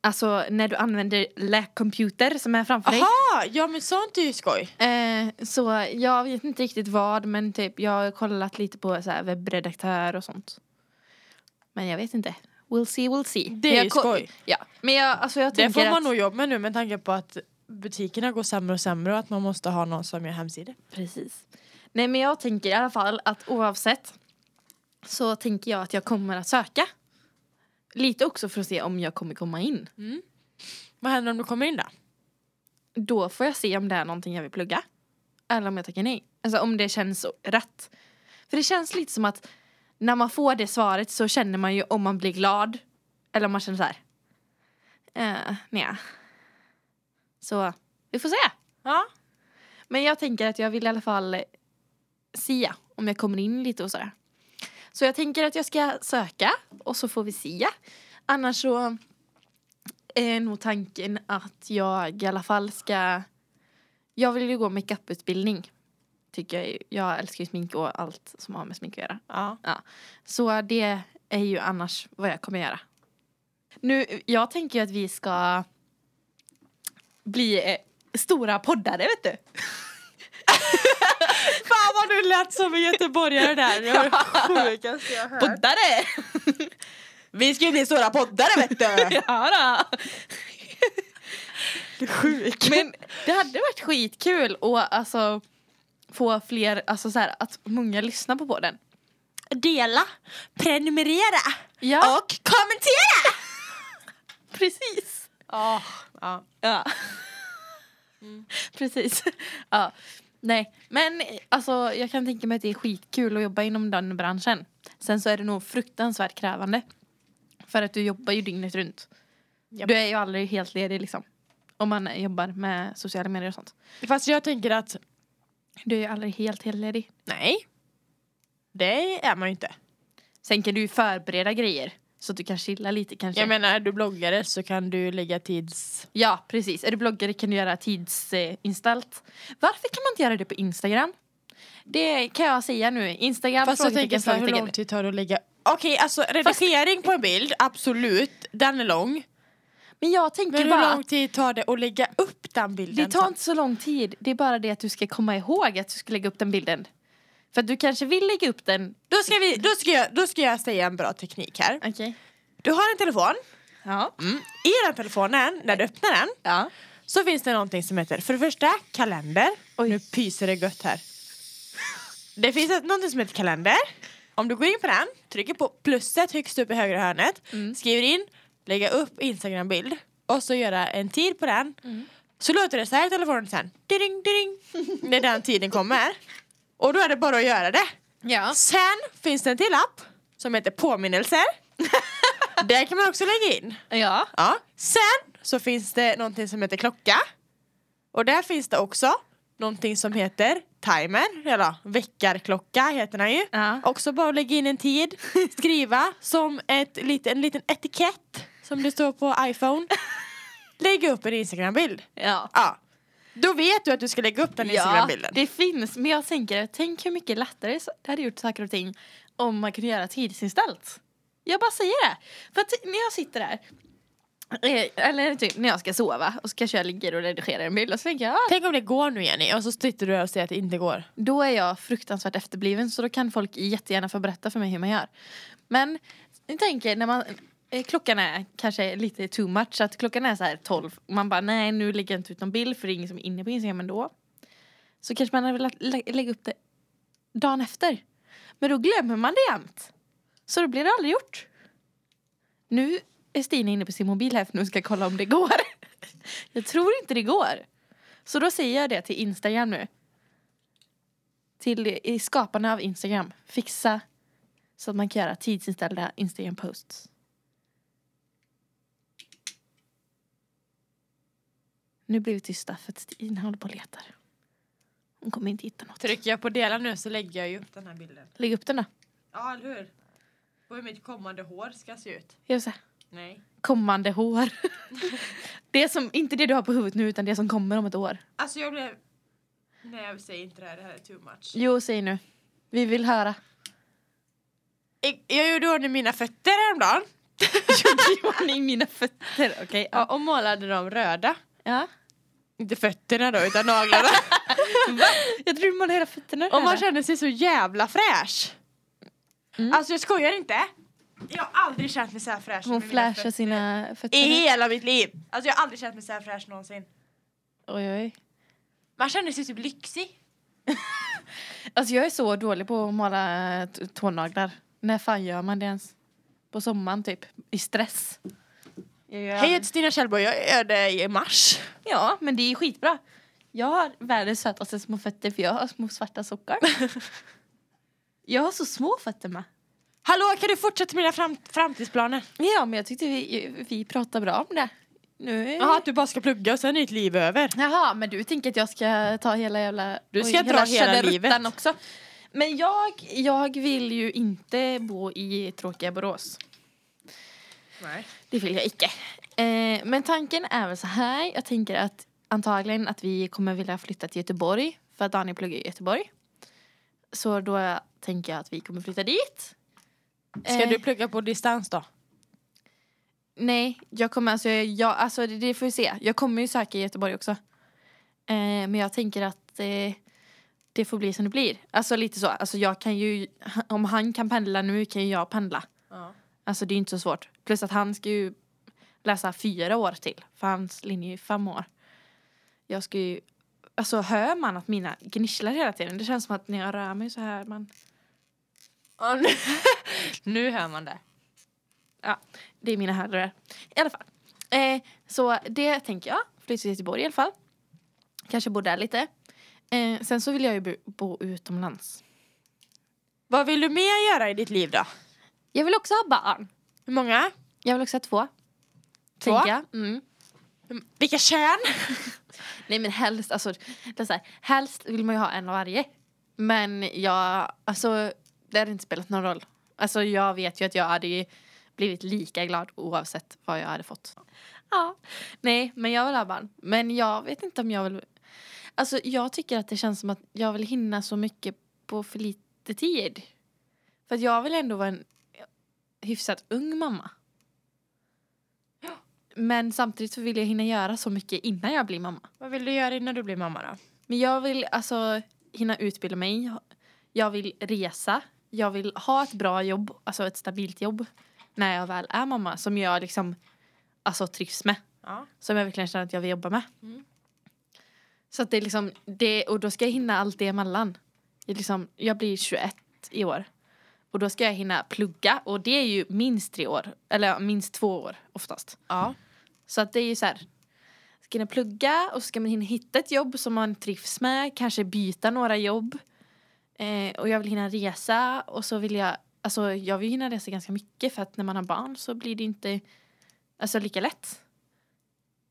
Alltså när du använder läkcomputer som är framför dig.
Aha, ja men sånt är ju skoj.
Eh, så jag vet inte riktigt vad men typ jag har kollat lite på så här webbredaktör och sånt. Men jag vet inte. We'll see, we'll see.
Det
Men
är
jag
ju
ko-
skoj.
Ja, men jag, alltså jag
Det
tänker
får man
att...
nog jobba med nu med tanke på att butikerna går sämre och sämre och att man måste ha någon som gör hemsidor.
Precis. Nej men jag tänker i alla fall att oavsett så tänker jag att jag kommer att söka. Lite också för att se om jag kommer komma in.
Vad händer om du kommer in där?
Då får jag se om det är någonting jag vill plugga. Eller om jag tackar nej. Alltså om det känns så rätt. För det känns lite som att när man får det svaret så känner man ju om man blir glad. Eller om man känner så här. Eh, nja. Så vi får se.
Ja.
Men jag tänker att jag vill i alla fall sia om jag kommer in lite och sådär. Så jag tänker att jag ska söka och så får vi sia. Annars så är nog tanken att jag i alla fall ska... Jag vill ju gå makeuputbildning. Tycker jag, ju. jag älskar ju smink och allt som har med smink att göra.
ja.
Så det är ju annars vad jag kommer göra. Nu, jag tänker ju att vi ska bli eh, stora poddare, vet du.
Fan vad du lät som en göteborgare *laughs* där. Det var det sjukaste jag hört.
Poddare!
Vi ska ju bli stora poddare *laughs* vet du!
*laughs* Ja då.
Sjuk.
Men det hade varit skitkul och alltså få fler, alltså så här, att många lyssnar på podden.
Dela, prenumerera
Ja,
och kommentera!
precis.
Oh, ja.
Ja. *laughs* Precis. Ja. Nej, men alltså jag kan tänka mig att det är skitkul att jobba inom den branschen. Sen så är det nog fruktansvärt krävande. För att du jobbar ju dygnet runt.
Japp.
Du är ju aldrig helt ledig liksom. Om man jobbar med sociala medier och sånt.
Fast jag tänker att
Du är ju aldrig helt, helt ledig.
nej, det är man ju inte.
Sen kan du ju förbereda grejer så att du kan chilla lite kanske. Ja,
Jag menar är du bloggare så kan du lägga tids...
precis. Är du bloggare kan du göra tidsinställt. Eh, inställt. Varför kan man inte göra det på Instagram? Det kan jag säga nu. Instagram
Fast jag tänker
frågetecken,
så här, hur
frågetecken.
lång tid tar det att lägga... Okej alltså redigering på en bild, absolut, den är lång.
Men jag tänker
Men hur
bara
lång tid tar det att lägga upp den bilden?
Det tar inte så lång tid. Det är bara det att du ska komma ihåg att du ska lägga upp den bilden. För att du kanske vill lägga upp den.
Då ska, vi, då, ska jag, då ska jag säga en bra teknik här.
Okej.
Du har en telefon.
Ja.
I den telefonen, när du öppnar den,
ja.
så finns det någonting som heter för det första kalender. Nu pyser det gött här. Det finns ett, någonting som heter kalender. Om du går in på den, trycker på plusset högst upp i högra hörnet, skriver in, lägga upp Instagram-bild och så göra en tid på den. Så låter det så här i telefonen sen. Ding, ding. När den tiden kommer. Och då är det bara att göra det.
Ja.
Sen finns det en till app som heter påminnelser. Där kan man också lägga in.
Ja.
Ja. Sen så finns det någonting som heter klocka. Och där finns det också någonting som heter timer, eller väckarklocka heter den ju.
Ja.
Också bara att lägga in en tid, *laughs* skriva som ett, lit- en liten etikett som det står på iPhone. Lägga upp en Instagram-bild.
ja.
Ja. Då vet du att du ska lägga upp den Instagram-bilden.
det finns. Men jag tänker, tänk hur mycket lättare så- det hade gjort saker och ting om man kunde göra tidsinställt. Jag bara säger det. För att när jag sitter där, eh, eller typ när jag ska sova och så kanske jag ligger och redigerar en bild och så tänker jag, ah,
Tänk om det går nu Jenny och så sitter du och säger att det inte går.
då är jag fruktansvärt efterbliven så då kan folk jättegärna få berätta för mig hur man gör. Men jag tänker när man eh, Klockan är kanske lite too much, så att klockan är så här 12 och man bara nej nu lägger jag inte ut någon bild för det är ingen som är inne på Instagram ändå. Så kanske man hade velat lä- lägga upp det dagen efter. Men då glömmer man det jämt. Så då blir det aldrig gjort. Nu är Stina inne på sin mobil här för nu ska jag kolla om det går. *laughs* Jag tror inte det går. Så då säger jag det till Instagram nu. Till i skaparna av Instagram. Fixa så att man kan göra tidsinställda Instagram-posts. Nu blir vi tysta för att Stina håller på och letar. Hon kommer inte hitta något.
Trycker jag på dela nu så lägger jag ju upp den här bilden.
Lägg upp den då.
Ja, eller hur? Och hur mitt kommande hår ska se ut.
Gör så här.
Nej.
Kommande hår. *laughs* det som, inte det du har på huvudet nu utan det som kommer om ett år.
Alltså jag blev... Nej, jag säger inte det här. Det här är too much.
Jo, säg nu. Vi vill *laughs* höra.
Jag, jag gjorde ordning mina fötter häromdagen.
Gjorde i mina fötter? Okej.
Ja, och målade dem röda.
Ja.
Inte fötterna då, utan naglarna.
Jag tror du målade hela fötterna.
*laughs* och man kände sig så jävla fräsch.
Mm.
Alltså jag skojar inte. Jag har aldrig känt mig så här fräsch.
Hon
med mina
flashar
fötter.
sina fötter.
I hela mitt liv. Alltså jag har aldrig känt mig så här fräsch någonsin.
Oj, oj.
Man känner sig typ lyxig.
Alltså jag är så dålig på att måla t- tånaglar. När fan gör man det ens? På sommaren typ. I stress. Jag gör
Hej, jag heter Stina Kjellborg. Jag gör det i mars.
Ja, men det är skitbra. Jag har världens sötaste små fötter för jag har små svarta sockar. *laughs* jag har så små fötter med.
Hallå, kan du fortsätta med dina fram framtidsplaner?
Ja, men jag tyckte vi, vi pratade bra om det. Nu...
Jaha, att du bara ska plugga och sen är ditt liv över.
Jaha, men du tänker att jag ska ta hela jävla...
Du ska dra hela
tjadderuttan
livet.
också. Men jag, jag vill ju inte bo i tråkiga Borås.
Nej.
Det vill jag icke. Eh, men tanken är väl så här. Jag tänker att antagligen att vi kommer vilja flytta till Göteborg. För att Daniel pluggar i Göteborg. Så då tänker jag att vi kommer flytta dit.
Ska
Eh,
du plugga på distans då?
Nej, jag kommer alltså, jag, alltså det, det får vi se. Jag kommer ju söka i Göteborg också. Eh, men jag tänker att eh, det får bli som det blir. Alltså lite så. Alltså jag kan ju, om han kan pendla nu kan ju jag pendla.
Ja.
Alltså det är ju inte så svårt. Plus att han ska ju läsa fyra år till. För hans linje är ju fem år. Jag ska ju, alltså hör man att mina gnisslar hela tiden? Det känns som att när jag rör mig så här man.
nu, *laughs* nu hör man det.
Ja, det är mina herrar. I alla fall. Eh, så det tänker jag. Flytta till Göteborg i alla fall. Kanske bo där lite. Eh, sen så vill jag ju bo, bo utomlands.
Vad vill du mer göra i ditt liv då?
Jag vill också ha barn.
Hur många?
Jag vill också ha två.
Två?
Tänker jag. Mm.
Vilka kön?
Nej men helst, alltså, det är så här, helst vill man ju ha en av varje. Men jag, alltså det hade inte spelat någon roll. Alltså jag vet ju att jag hade ju blivit lika glad oavsett vad jag hade fått. Ja. Nej men jag vill ha barn. Men jag vet inte om jag vill, alltså jag tycker att det känns som att jag vill hinna så mycket på för lite tid. För att jag vill ändå vara en hyfsat ung mamma. Men samtidigt så vill jag hinna göra så mycket innan jag blir mamma.
Vad vill du göra innan du blir mamma då?
Men jag vill alltså hinna utbilda mig. Jag vill resa. Jag vill ha ett bra jobb, alltså ett stabilt jobb när jag väl är mamma som jag liksom alltså trivs med.
Ja.
Som jag verkligen känner att jag vill jobba med.
Mm.
Så att det är liksom det, och då ska jag hinna allt det emellan. Jag, liksom, jag blir 21 i år. Och då ska jag hinna plugga och det är ju minst tre år. Eller ja, minst två år oftast.
ja.
Så att det är ju så här. Ska man plugga och så ska man hinna hitta ett jobb som man trivs med. Kanske byta några jobb. Eh, och jag vill hinna resa och så vill jag, alltså jag vill hinna resa ganska mycket för att när man har barn så blir det inte, alltså lika lätt.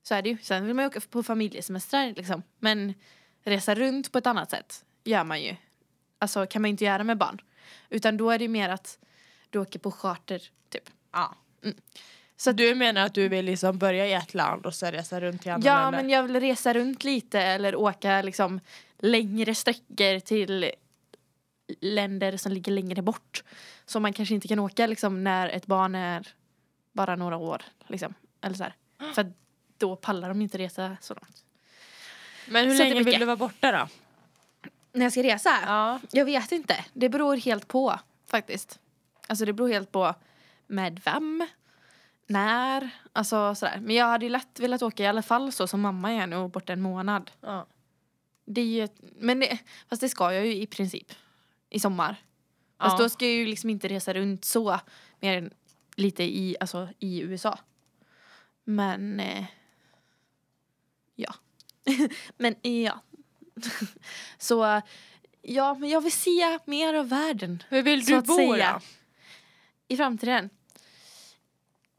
Så är det ju. Sen vill man ju åka på familjesemestrar liksom. Men resa runt på ett annat sätt gör man ju. Alltså kan man ju inte göra med barn. Utan då är det ju mer att du åker på charter typ.
ja.
Mm.
Så du menar att du vill liksom börja i ett land och sen resa runt till andra
Ja,
länder?
men jag vill resa runt lite eller åka liksom längre sträckor till länder som ligger längre bort. Som man kanske inte kan åka liksom när ett barn är bara några år. Liksom. Eller så här. För att då pallar de inte resa så långt.
men hur
Så det är
länge vill
mycket.
du vara borta då?
När jag ska resa?
Ja.
Jag vet inte. Det beror helt på faktiskt. Alltså det beror helt på med vem, när, alltså sådär. Men jag hade ju lätt velat åka i alla fall så som mamma är nu och borta en månad.
ja.
Det är ju ett, men det, fast det ska jag ju i princip. I sommar. Fast
Ja.
då ska jag ju liksom inte resa runt så. Mer än lite i, alltså, i USA. Men... Eh, ja. *laughs* men eh, ja. *laughs* så eh, ja, men jag vill se mer av världen
Hur vill
Så
du
att
bo
säga.
då?
i framtiden.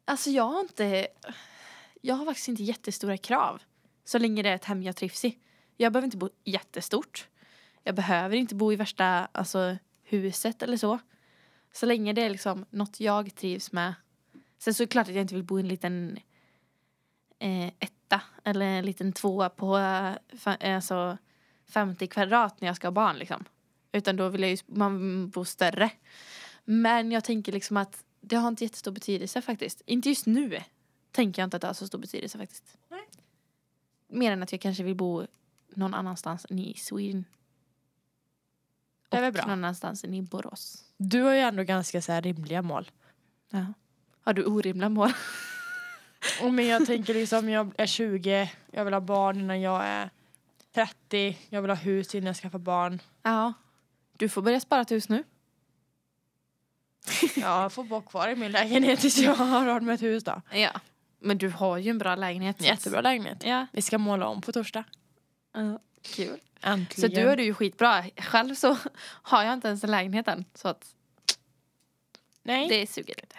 Alltså jag har inte... Jag har faktiskt inte jättestora krav. Så länge det är ett hem jag trivs i. Jag behöver inte bo jättestort. Jag behöver inte bo i värsta alltså, huset eller så. Så länge det är liksom något jag trivs med. Sen så är det klart att jag inte vill bo i en liten eh, etta eller en liten tvåa på eh, fa- eh, alltså 50 kvadrat när jag ska ha barn liksom. Utan då vill jag ju man bo större. Men jag tänker liksom att det har inte jättestor betydelse faktiskt. Inte just nu tänker jag inte att det har så stor betydelse faktiskt.
Nej.
Mer än att jag kanske vill bo någon annanstans än i Sweden.
Det är väl
Och
bra.
någon annanstans än i Borås.
Du har ju ändå ganska så här rimliga mål.
Ja. Har du orimliga mål?
Och men jag tänker liksom, jag är 20, jag vill ha barn innan jag är 30, jag vill ha hus innan jag skaffar barn.
Ja. Du får börja spara till hus nu.
Jag får bo kvar i min lägenhet tills jag har råd med ett hus då.
Ja. Men du har ju en bra lägenhet. så att-
Jättebra lägenhet.
Ja.
Vi ska måla om på torsdag.
ja. Kul. Så
Äntligen.
du är du ju skitbra. Själv så *laughs* har jag inte ens en lägenhet än. Så att
Nej,
det suger lite.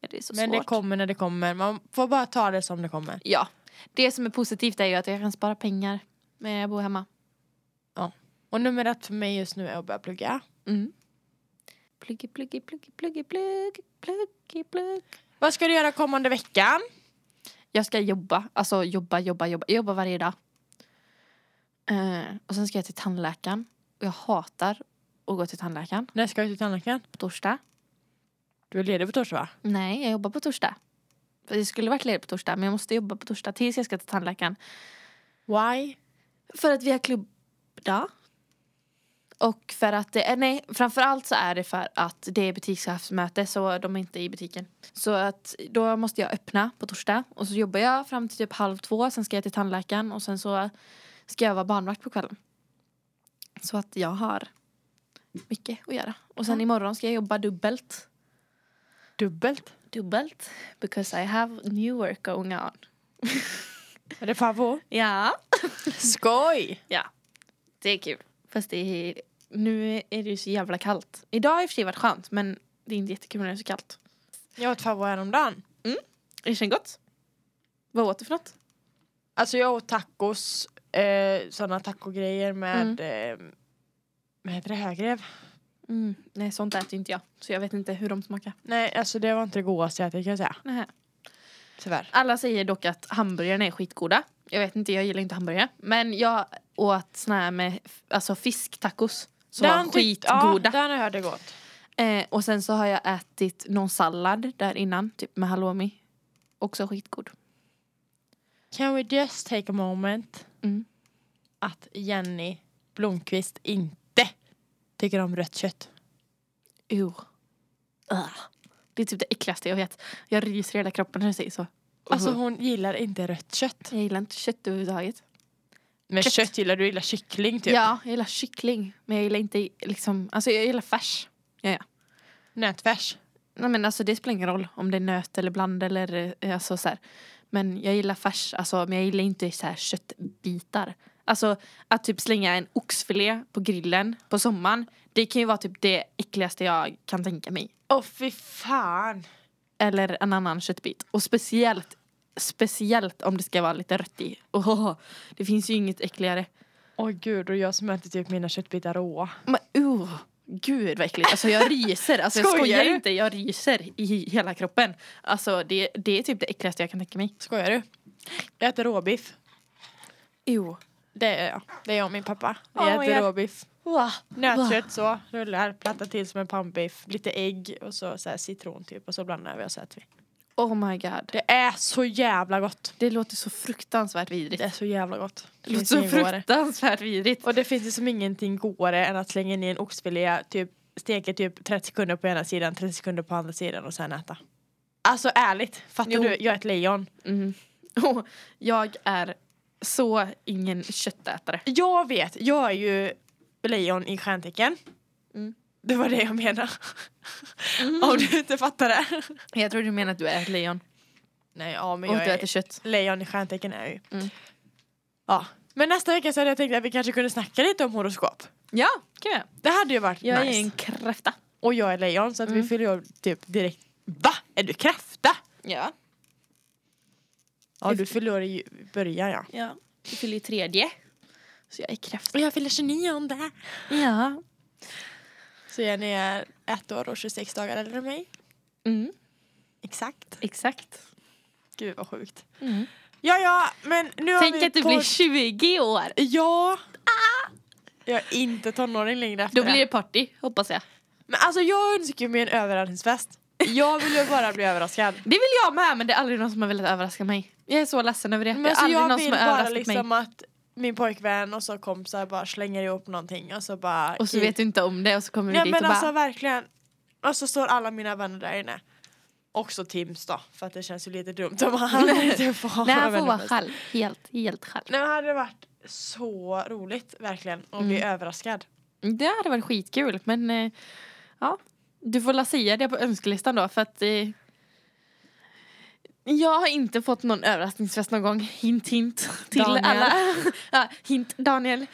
Men det är så
men
svårt.
det kommer när det kommer. Man får bara ta det som det kommer.
Ja. Det som är positivt är ju att jag kan spara pengar när jag bor hemma.
Och nummer ett för mig just nu är att börja plugga.
Mm. Pluggi, pluggi, pluggi, pluggi, plugg, pluggi, plugg.
Vad ska du göra kommande veckan?
Jag ska jobba, alltså jobba, jobba, jobba. Jag jobbar varje dag. Eh, och sen ska jag till tandläkaren. Och jag hatar att gå till tandläkaren
När ska du till tandläkaren?
på torsdag.
Du är ledig på torsdag va?
Nej, jag jobbar på torsdag. För jag skulle varit ledig på torsdag, men jag måste jobba på torsdag tills jag ska till tandläkaren.
Why?
För att vi har klubbdag. Och för att det är, nej, framförallt så är det för att det är butikschefsmöte så de är inte i butiken. Så att då måste jag öppna på torsdag och så jobbar jag fram till typ halv två, sen ska jag till tandläkaren och sen så ska jag vara barnvakt på kvällen. Så att jag har mycket att göra. Och sen imorgon ska jag jobba dubbelt.
Dubbelt?
Dubbelt? Because I have new work going on.
Är det favvo?
Ja.
*laughs* Skoj!
Ja, det är kul. Fast det är, nu är det ju så jävla kallt. Idag har i och för sig varit skönt men det är inte jättekul när det är så kallt.
Jag åt favvo häromdagen.
Det känns gott. Vad åt du för något?
Alltså jag åt tacos, eh, sådana tacogrejer med, eh, vad heter det, högrev?
Mm, nej, sånt äter inte jag. Så jag vet inte hur de smakar.
Nej, alltså det var inte det godaste jag ätit kan jag säga.
Nähä.
Tyvärr.
Alla säger dock att hamburgarna är skitgoda. Jag vet inte, jag gillar inte hamburgare. Men jag åt såna här med f- alltså fisktacos. Som var
tyck-
skitgoda.
Ja, den hörde gott.
Eh, och sen så har jag ätit någon sallad där innan, typ med halloumi. Också skitgod.
Can we just take a moment
Mm.
att Jenny Blomqvist inte tycker om rött kött?
Jo. Ugh. Det är typ det äckligaste jag vet. Jag ryser i hela kroppen när du säger så.
Alltså hon gillar inte rött kött.
Jag gillar inte kött överhuvudtaget.
Men
Kött.
kött, gillar du, gillar kyckling typ.
Ja, jag gillar kyckling. Men jag gillar inte liksom, alltså jag gillar färs.
Nötfärs.
Nej men alltså det spelar ingen roll om det är nöt eller bland eller eh, alltså så här. Men jag gillar färs, alltså men jag gillar inte så här köttbitar. Alltså att typ slänga en oxfilé på grillen på sommaren. Det kan ju vara typ det äckligaste jag kan tänka mig.
Åh fy fan.
Eller en annan köttbit. Och speciellt, speciellt om det ska vara lite rött i. Åh, det finns ju inget äckligare.
Åh gud, och jag som äter typ mina köttbitar råa.
Men oh, gud vad äckligt. Alltså jag ryser. Alltså jag
Skojar
skojar
du?
inte. Jag ryser i hela kroppen. Alltså det, det är typ det äckligaste jag kan tänka mig.
Skojar du? Jag äter råbiff.
Jo.
Det är jag. Det är jag och min pappa. Vi
Oh my
äter
God.
råbiff. Nötkött så, rullar, plattar till som en pannbiff. Lite ägg och så, så här, citron typ och så blandar vi och så äter vi.
Oh my god.
Det är så jävla gott.
Det låter så fruktansvärt vidrigt.
Det är så jävla gott.
Det låter
finns inget
så
godare.
fruktansvärt vidrigt.
Och det finns ju som ingenting godare än att slänga in i en oxfilé, typ steker typ 30 sekunder på ena sidan, 30 sekunder på andra sidan och sen äta. Alltså ärligt, fattar
Jo.
du? Jag är ett lejon.
Mm. Och jag är så ingen köttätare.
Jag vet, jag är ju lejon i stjärntecken.
Mm.
Det var det jag menade. *laughs* Om du inte fattar det.
Jag tror du menar att du är ett lejon
Nej, ja men
och att
jag
du
är
äter kött.
lejon i stjärntecken är jag ju.
Mm.
Ja. Men nästa vecka så hade jag tänkt att vi kanske kunde snacka lite om horoskop.
Ja, kan jag.
Det hade ju varit
Jag
nice.
är en kräfta.
Och jag är lejon så att
Mm.
vi fyller ju typ direkt. Va? Är du kräfta?
Ja.
Ja,
du
du förlorar i början ja.
ja. Du fyller ju tredje. Så jag är kräfta.
Och jag fyller 29.
Ja.
Så Jenny är ett år och 26 dagar äldre än mig.
Mm.
Exakt.
Exakt.
Gud vad sjukt.
Mm.
Ja, ja, men nu har
Tänk
vi
att du
på-
blir 20 år.
Ja! Jag är inte tonåring längre efter
Då blir
det.
det party, hoppas jag.
Men alltså jag önskar ju mig en överraskningsfest. Jag vill ju bara bli
*laughs*
överraskad.
Det vill jag med, men det är aldrig någon som har velat överraska mig. Jag är så ledsen över det.
Men
det är
alltså,
aldrig
jag
någon
vill
som har
bara
överraskat
liksom
mig.
att min pojkvän och så kompisar bara slänger ihop någonting och så bara...
Och så vet du inte om det och så kommer du
Mm. Nej
dit
men
och
alltså
bara...
verkligen. Och så står alla mina vänner där inne. Också Tims då, för att det känns ju lite dumt om han inte får ha
Nej, han
vänner
får vara
med sig.
själv. Helt, helt själv.
Nej men hade det varit så roligt verkligen att bli
Mm.
överraskad.
Det hade varit skitkul, men eh, ja. Du får la säga det på önskelistan då, för att... Eh, jag har inte fått någon överraskningsfest någon gång. Hint, hint. Till
Daniel.
alla. *laughs* ja, hint, Daniel.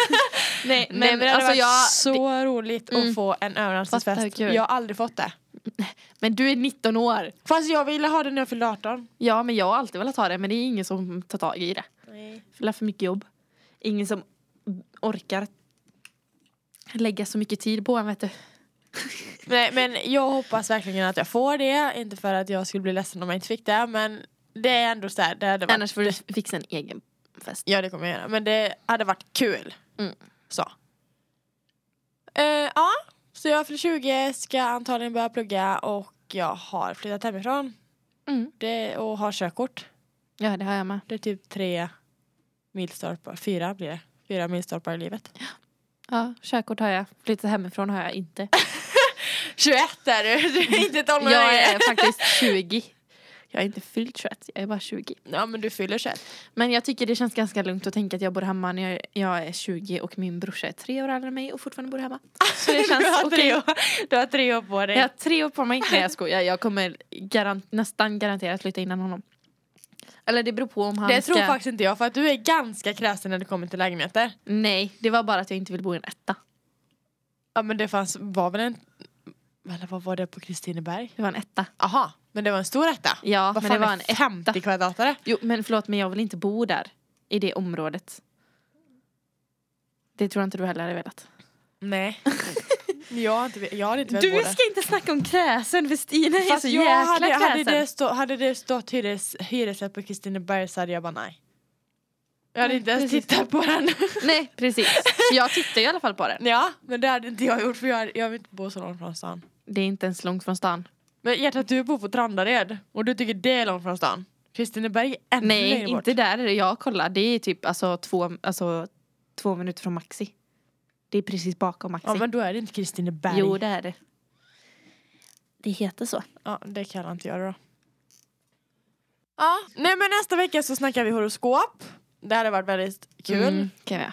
*laughs* Nej, men,
Nej men det hade
alltså
varit
jag...
så roligt
Mm.
att få en
Fattar hur
överraskningsfest.
kul.
Jag har aldrig fått det.
Men du är 19 år.
Fast jag ville ha det när jag fyllde 18.
Ja, men jag har alltid velat ha det, men det är ingen som tar tag i det. Fylla för mycket jobb. Ingen som orkar lägga så mycket tid på en, vet du.
Nej men jag hoppas verkligen att jag får det. Inte för att jag skulle bli ledsen om jag inte fick det men det är ändå så här, det hade varit
Annars får du fixa en egen fest.
Ja det kommer jag göra, men det hade varit kul.
Mm.
Så. Eh, ja, så jag fyller 20, ska antagligen börja plugga och jag har flyttat hemifrån
Mm.
det, och har körkort.
Ja, det har jag med.
Det är typ tre milstolpar, fyra blir det. Fyra milstolpar i livet.
Ja, körkort har jag. Flyttat hemifrån har
*laughs*
jag inte.
21 är du, du är inte tonåring
Jag
längre.
är faktiskt 20. Jag är inte fyllt 21, jag är bara 20.
Ja men du fyller 21.
Men jag tycker det känns ganska lugnt att tänka att jag bor hemma när jag, jag är 20 och min brorsa är tre år äldre än mig och fortfarande bor hemma.
Ah,
Så
*laughs*
det
du,
känns
har
okej.
tre år, du har tre år på dig.
Jag har tre år på mig. Nej jag skojar, jag kommer garan- nästan garanterat flytta innan honom. Eller det beror på om han
det tror
ska...
faktiskt inte jag för att du är ganska kräsen när det kommer till lägenheter.
Nej, det var bara att jag inte vill bo i en etta.
Ja men det fanns, var väl en, eller vad var det på Kristineberg?
Det var en etta.
Aha, men det var en stor etta?
Ja,
Vad
men det
fan
var
är
en etta.
50 kvadratare?
Jo, men förlåt, men jag vill inte bo där. I det området. Det tror jag inte du heller hade velat.
Nej. *laughs* jag har inte, jag har inte velat bo
Du
där.
ska inte snacka om kräsen för Stina är
Fast
så
jag
jäkla
hade,
kräsen.
hade, det stå, hade det stått hyres, hyresrätt på Kristineberg så hade jag bara nej. Jag hade
Mm,
inte ens
precis.
tittat på
*laughs*
den.
Nej, precis. Jag tittar i alla fall på den.
ja, men det hade inte jag gjort för jag, hade- jag vill inte bo så långt från stan.
Det är inte ens långt från stan.
Men hjärtat, du bor på Trandared och du tycker det är långt från stan. Kristineberg är ännu
Nej,
längre bort.
inte där är det. Jag kollar. Det är typ alltså, två, alltså, två minuter från Maxi. Det är precis bakom Maxi.
Ja, men då är det inte Kristineberg.
Jo, det är det. Det heter så.
Ja, det kallar inte jag det då. Ja, nej men nästa vecka så snackar vi horoskop. Det hade varit väldigt kul.
Mm, kan jag.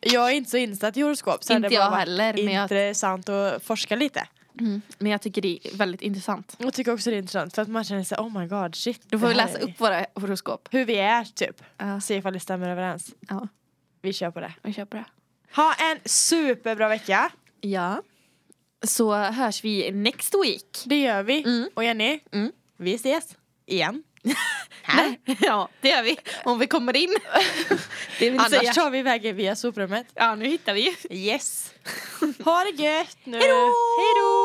Jag är inte så insatt i horoskop så
Inte
det bara
jag
varit
heller, men jag,
intressant att forska lite.
mm, men jag tycker det är väldigt intressant.
Jag tycker också det är intressant för att man känner sig oh my god shit.
Då får
det
vi
här
läsa
är
upp våra horoskop.
Hur vi är typ.
Ja,
Se ifall det stämmer överens.
Ja.
Vi kör på det.
vi kör på det.
Ha en superbra vecka.
Ja. Så hörs vi next week.
Det gör vi.
Mm.
Och Jenny,
Mm.
vi ses igen.
Nej, *laughs* ja, det gör vi. Om vi kommer in. *laughs* Det vill
Annars
säga.
tar vi vägen via soprummet.
Ja, nu hittar vi ju.
Yes. ha det gött nu.
Hejdå!
Hejdå!